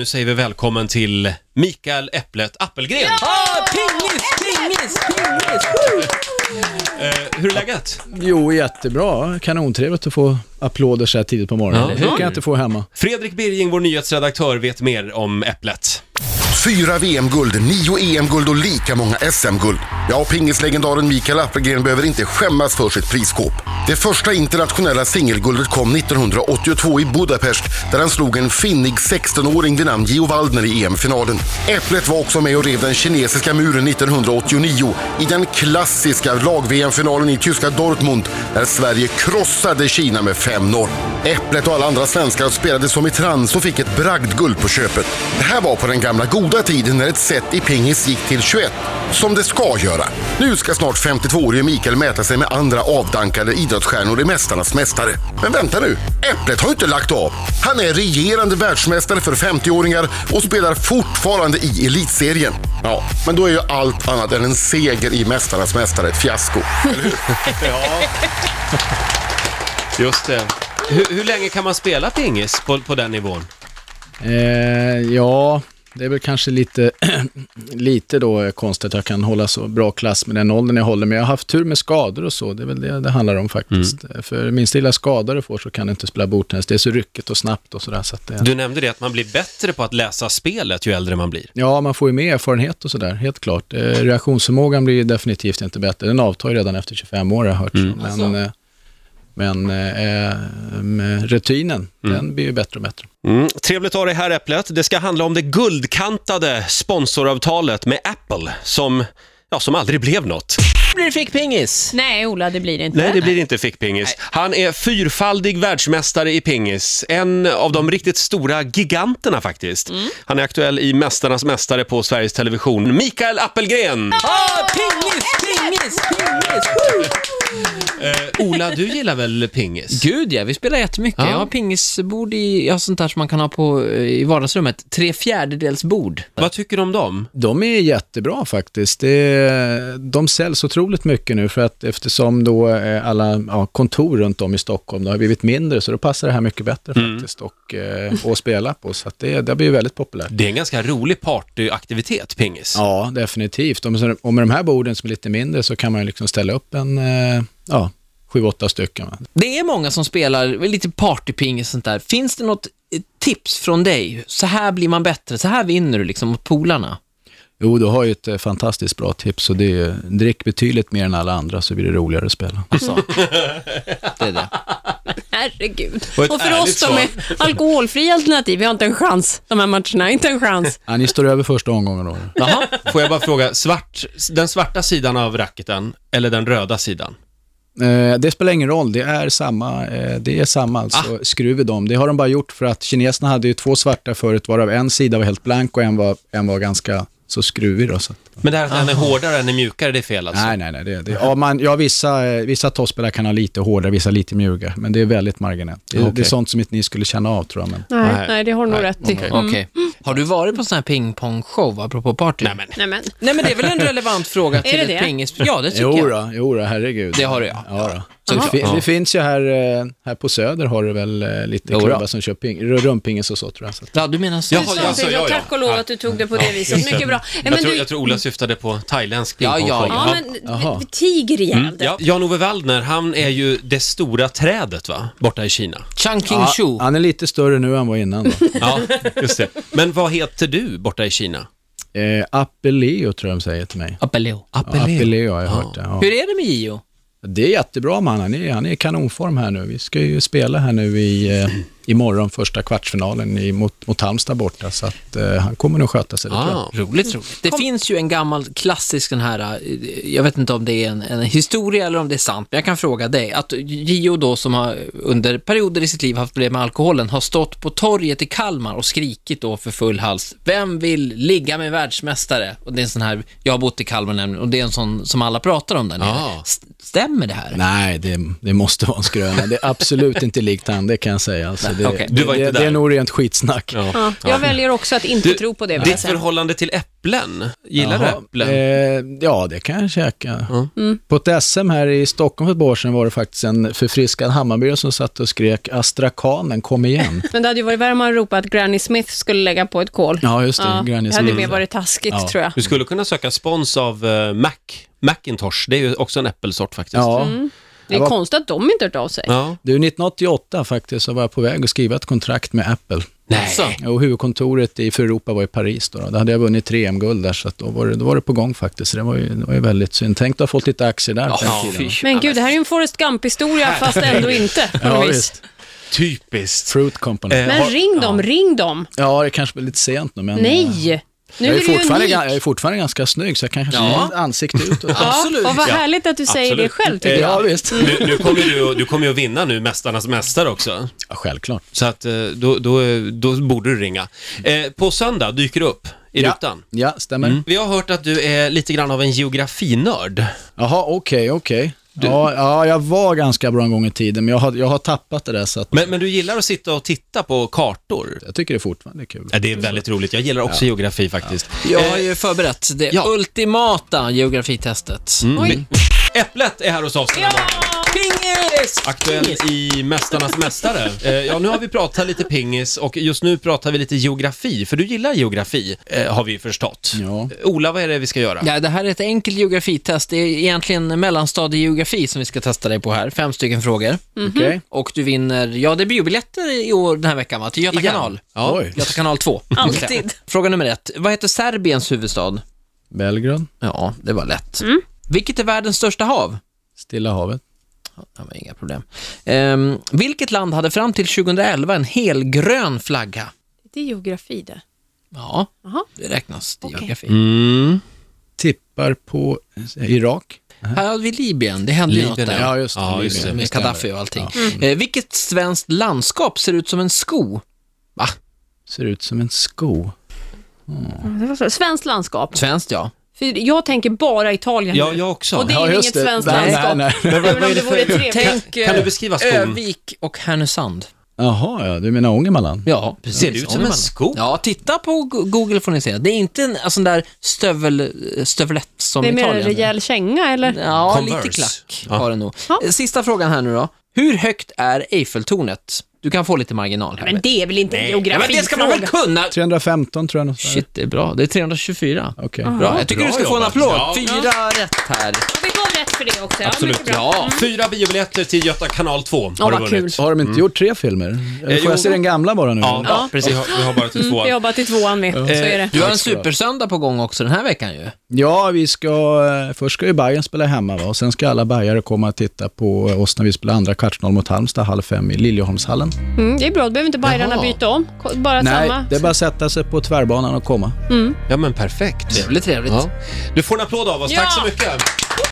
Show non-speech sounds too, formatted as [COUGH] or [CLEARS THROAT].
Nu säger vi välkommen till Mikael Äpplet Appelgren. Ah, pingis, pingis, pingis! Eh, hur är läget? Jo, jättebra. Kanontrevligt att få applåder så här tidigt på morgonen. Ja, det kan jag inte få hemma. Fredrik Birging, vår nyhetsredaktör, vet mer om Äpplet. Fyra VM-guld, nio EM-guld och lika många SM-guld. Ja, pingislegendaren Mikael Appelgren behöver inte skämmas för sitt prisskåp. Det första internationella singelguldet kom 1982 i Budapest där han slog en finnig 16-åring vid namn Gio Waldner i EM-finalen. Äpplet var också med och rev den kinesiska muren 1989 i den klassiska lag-VM-finalen i tyska Dortmund där Sverige krossade Kina med 5-0. Äpplet och alla andra svenskar spelade som i trans och fick ett bragdguld på köpet. Det här var på den gamla goda tiden när ett set i pingis gick till 21, som det ska göra. Nu ska snart 52-årige Mikael mäta sig med andra avdankade idrottsstjärnor i Mästarnas Mästare. Men vänta nu, Äpplet har ju inte lagt av. Han är regerande världsmästare för 50-åringar och spelar fortfarande i Elitserien. Ja, men då är ju allt annat än en seger i Mästarnas Mästare ett fiasko. Just det. Hur, hur länge kan man spela pingis på, på den nivån? Eh, ja, det är väl kanske lite, [CLEARS THROAT] lite då konstigt att jag kan hålla så bra klass med den åldern jag håller. Men jag har haft tur med skador och så. Det är väl det det handlar om faktiskt. För minsta lilla skada du får så kan du inte spela bordtennis. Det är så ryckigt och snabbt och sådär. Så att det, Du nämnde det att man blir bättre på att läsa spelet ju äldre man blir. Ja, man får ju mer erfarenhet och sådär, helt klart. Eh, reaktionsförmågan blir ju definitivt inte bättre. Den avtar ju redan efter 25 år, har jag hört. Men, eh, men eh, eh, rutinen, den blir ju bättre och bättre. Mm. Trevligt att ha dig här Äpplet. Det ska handla om det guldkantade sponsoravtalet med Apple som, ja, som aldrig blev något. Blir fick pingis! Nej, Ola, det blir det inte. Nej, det blir inte fickpingis. Han är fyrfaldig världsmästare i pingis. En av de riktigt stora giganterna faktiskt. Mm. Han är aktuell i Mästarnas mästare på Sveriges Television. Mikael Appelgren! Ah, pingis, pingis, pingis! Ola, du gillar väl pingis? Gud ja, vi spelar jättemycket. Ja. Jag har pingisbord i, jag har sånt där som man kan ha på, eh, i vardagsrummet. Tre fjärdedels bord. Vad tycker du om dem? De är jättebra faktiskt. Det, de säljs otroligt mycket nu för att eftersom då eh, alla ja, kontor runt om i Stockholm då har blivit mindre så då passar det här mycket bättre faktiskt och, eh, att spela på. Så att det, det blir ju väldigt populärt. Det är en ganska rolig partyaktivitet, pingis. Ja, definitivt. Om, och med de här borden som är lite mindre så kan man ju liksom ställa upp en, eh, ja, sju, åtta stycken. Va? Det är många som spelar lite partypingis och sånt där. Finns det något eh, tips från dig? Så här blir man bättre, så här vinner du liksom mot polarna. Jo, du har ju ett eh, fantastiskt bra tips och det är ju, drick betydligt mer än alla andra så blir det roligare att spela. Alltså, det är det. Herregud. Och ett Och för ärligt oss som svar. är alkoholfria alternativ, vi har inte en chans. De här matcherna, inte en chans. [LAUGHS] Ja, ni står över första omgången då. Jaha. Får jag bara fråga, svart, den svarta sidan av racketen eller den röda sidan? Eh, det spelar ingen roll, det är samma, eh, det är samma alltså, skruv i dem. Det har de bara gjort för att kineserna hade ju två svarta förut, varav en sida var helt blank och en var, en var ganska så skruvig då. Så att, Men det här att den är hårdare, den är mjukare, det är fel alltså? Nej, nej, nej. Det, det, ja, man, ja, vissa eh, vissa toppspelare kan ha lite hårdare, vissa lite mjugare, men det är väldigt marginellt. Det, det Okej. är sånt som inte ni skulle känna av tror jag. Men. Nej, Nej. nej. det har du nog rätt i. Mm. Okej. Har du varit på sån här pingpongshow, apropå party? Nej, men. Nej, men. Nej, men det är väl en relevant fråga till det ett det? pingis... Ja, det tycker Jo jag. då, jo då, herregud. Det har du, ja. ja då. Så det, klart. fin, Ja. det finns ju här, eh, här på Söder har du väl eh, lite Jo då. klubbar som kör ping, rumpingis och så tror jag. Så. att- Ja, du menar så. Jaha, Du sa ja, det, så, ja, ja, ja. tack och lov att du tog det på det viset. Mycket bra. Nej, Jag, men tror, du, jag tror Ola syftade på thailändsk Ja, ja, pingpongskoj. ja. ja, men vi, Jaha. vi tiger ihjäl det. Mm. Ja, Jan-Ove Waldner, han är ju det stora trädet va, borta i Kina. Chang King Ja, Shu. han är lite större nu än han var [LAUGHS] innan. Då. [LAUGHS] Ja, just det. Men vad heter du borta i Kina? Eh, Appeleo tror jag de säger till mig. Appeleo. Ja, Appeleo har jag hört det. Ja. Hur är det med Gio? Det är jättebra man, han är, han är i kanonform här nu. Vi ska ju spela här nu i, eh, imorgon, första kvartsfinalen i, mot, mot Halmstad borta, så att eh, han kommer nog sköta sig, det tror jag. Ah, Roligt, roligt. Det finns ju en gammal klassisk den här, eh, jag vet inte om det är en, en historia eller om det är sant, men jag kan fråga dig. Att Gio då som har under perioder i sitt liv haft problem med alkoholen har stått på torget i Kalmar och skrikit då för full hals. Vem vill ligga med världsmästare? Och det är en sån här, jag har bott i Kalmar nämligen, och det är en sån som alla pratar om där nere. Ja. St- Stämmer det här? Nej, det, det måste vara en skröna. Det är absolut inte likt han, det kan jag säga. Alltså, det, Okej. Du var det, inte det där. är nog rent skitsnack. Ja. Ja, jag väljer också att inte tro på det. vill jag ditt säga. förhållande till äpplen, gillar Jaha, du äpplen? Eh, ja, det kan jag käka. På ett SM här i Stockholm för ett par år sedan var det faktiskt en förfriskad Hammarbyare som satt och skrek astrakanen, kom igen. Men det hade ju varit värre om man ropat att Granny Smith skulle lägga på ett kol. [LAUGHS] Ja, just det. Granny det hade ju Smith. mer varit taskigt, Ja. tror jag. Du skulle kunna söka spons av eh, Mac, Macintosh, det är ju också en äppelsort faktiskt. Ja. Det är Jag var- konstigt att de inte hört av sig. Ja. Du, 1988 faktiskt så var jag på väg att skriva ett kontrakt med Apple. Nej. Och huvudkontoret i för Europa var i Paris då. då. Då hade jag vunnit 3M-guld där, så att då, var det, då var det på gång faktiskt. Så det var ju, det var ju väldigt synd. Tänk att ha fått lite aktier där. på den Ja, tiden. fy. Men gud, det här är ju en Forrest Gump-historia, fast ändå inte. På ja något vis. visst. Typiskt. Fruit Company. Eh, Men har- ring dem, ring dem. Ja, det kanske blir lite sent nu, men... eh, Nej! Nu är, Jag är, du ju fortfarande, unik. ga- jag är fortfarande ganska snygg, så jag kanske Ja. har ett ansikte ut. Och Ja, Absolut. Och [LAUGHS] vad Ja, härligt att du säger absolut. det själv, tycker Eh, jag. ja, visst. Nu, nu kommer du, du kommer ju att vinna nu, Mästarnas Mästare också. Ja, självklart. Så att eh, då, då, eh, då borde du ringa. Eh, på söndag dyker du upp i rutan. Mm. Ja, stämmer. Vi har hört att du är lite grann av en geografinörd. Jaha, okej, okej. Ja, ja, jag var ganska bra en gång i tiden, men jag har, jag har tappat det där, så att Men, men du gillar att sitta och titta på kartor. jag tycker det är fortfarande kul. Ja, det är väldigt roligt. Jag gillar också geografi faktiskt. Jag har ju förberett det ja. Mm. ultimata geografitestet. Vi- Eh, Äpplet är här hos oss den här morgonen. Pingis! Aktuell i Mästarnas Mästare. Eh, ja, nu har vi pratat lite pingis och just nu pratar vi lite geografi, för du gillar geografi, eh, har vi förstått. Ja. Eh, Ola, vad är det vi ska göra? Ja, det här är ett enkelt geografitest. Det är egentligen mellanstadiegeografi som vi ska testa dig på här. Fem stycken frågor. Mm. Mhm. Okej. Och du vinner, ja det är biobiljetter i år den här veckan va? Till Göta Igen. kanal. Ja. Oj. Göta kanal 2. Alltid. [LAUGHS] Fråga nummer ett. Vad heter Serbiens huvudstad? Belgrad, Ja, det var lätt. Mm. Vilket är världens största hav? Stilla havet. Det var inga problem. Ehm, vilket land hade fram till 2011 en helgrön flagga? Det är geografi det. Ja, Jaha. det räknas till Okej. geografi. Mm. Tippar på eh, Irak. Här har vi Libyen, det hände ju något Libyen, där. Ja, just det. Ja, just det. Med Gaddafi och allting. Eh, vilket svenskt landskap ser ut som en sko? Va? Ser ut som en sko. Det var så. Svenskt landskap. Svenskt ja. För jag tänker bara Italien Ja, nu. jag också. Och det är ju inget svenskt Nej, landskap. nej, nej. Även om det vore trevligt. Tänk Kan du eh, beskriva skon? Övik och Härnösand. Jaha, ja, du menar Ångermanland? Ja, precis. Ser det ut som en sko? Ja, titta på Go- Google får ni se. Det är inte en en sån där stövel, eh, stövlett som Det är mer en Italien. rejäl känga, eller? Ja, Converse. lite klack Ja. har det nog. Ja. Eh, Sista frågan här nu då. Hur högt är Eiffeltornet? Du kan få lite marginal här. Men det är väl inte en Ja, men det ska man väl geografifråga? kunna? 315 tror jag något sånt där. Shit, det är bra. Det är 324. Okej. Bra, jag tycker Bra du ska få en jobbat. applåd. Ja. Fyra rätt här. Vi gav rätt för det också. Absolut. Ja, mycket bra. Mm. Fyra biobiljetter till Göta kanal 2 har Ja, du vad vunnit. kul. Har de inte gjort tre filmer? Eller Mm. Eh, får jo. jag se den gamla bara nu? Ja, Ja. precis. Vi har, vi har bara till två. Vi Mm, jobbar till tvåan med, så är det. Eh, Du har en supersöndag på gång också den här veckan ju. Ja, vi ska, eh, först ska ju Bayern spela hemma va? och sen ska alla bajare komma och titta på oss när vi spelar andra kvartsfinal mot Halmstad halv fem i Liljeholmshallen. Mm, det är bra, då behöver inte Bajarna Jaha. byta om. Ko- Bara Nej, samma. det är bara att sätta sig på tvärbanan och komma. Ja, men perfekt. Trevligt, trevligt. Ja. Du får en applåd av oss. Tack Ja. så mycket.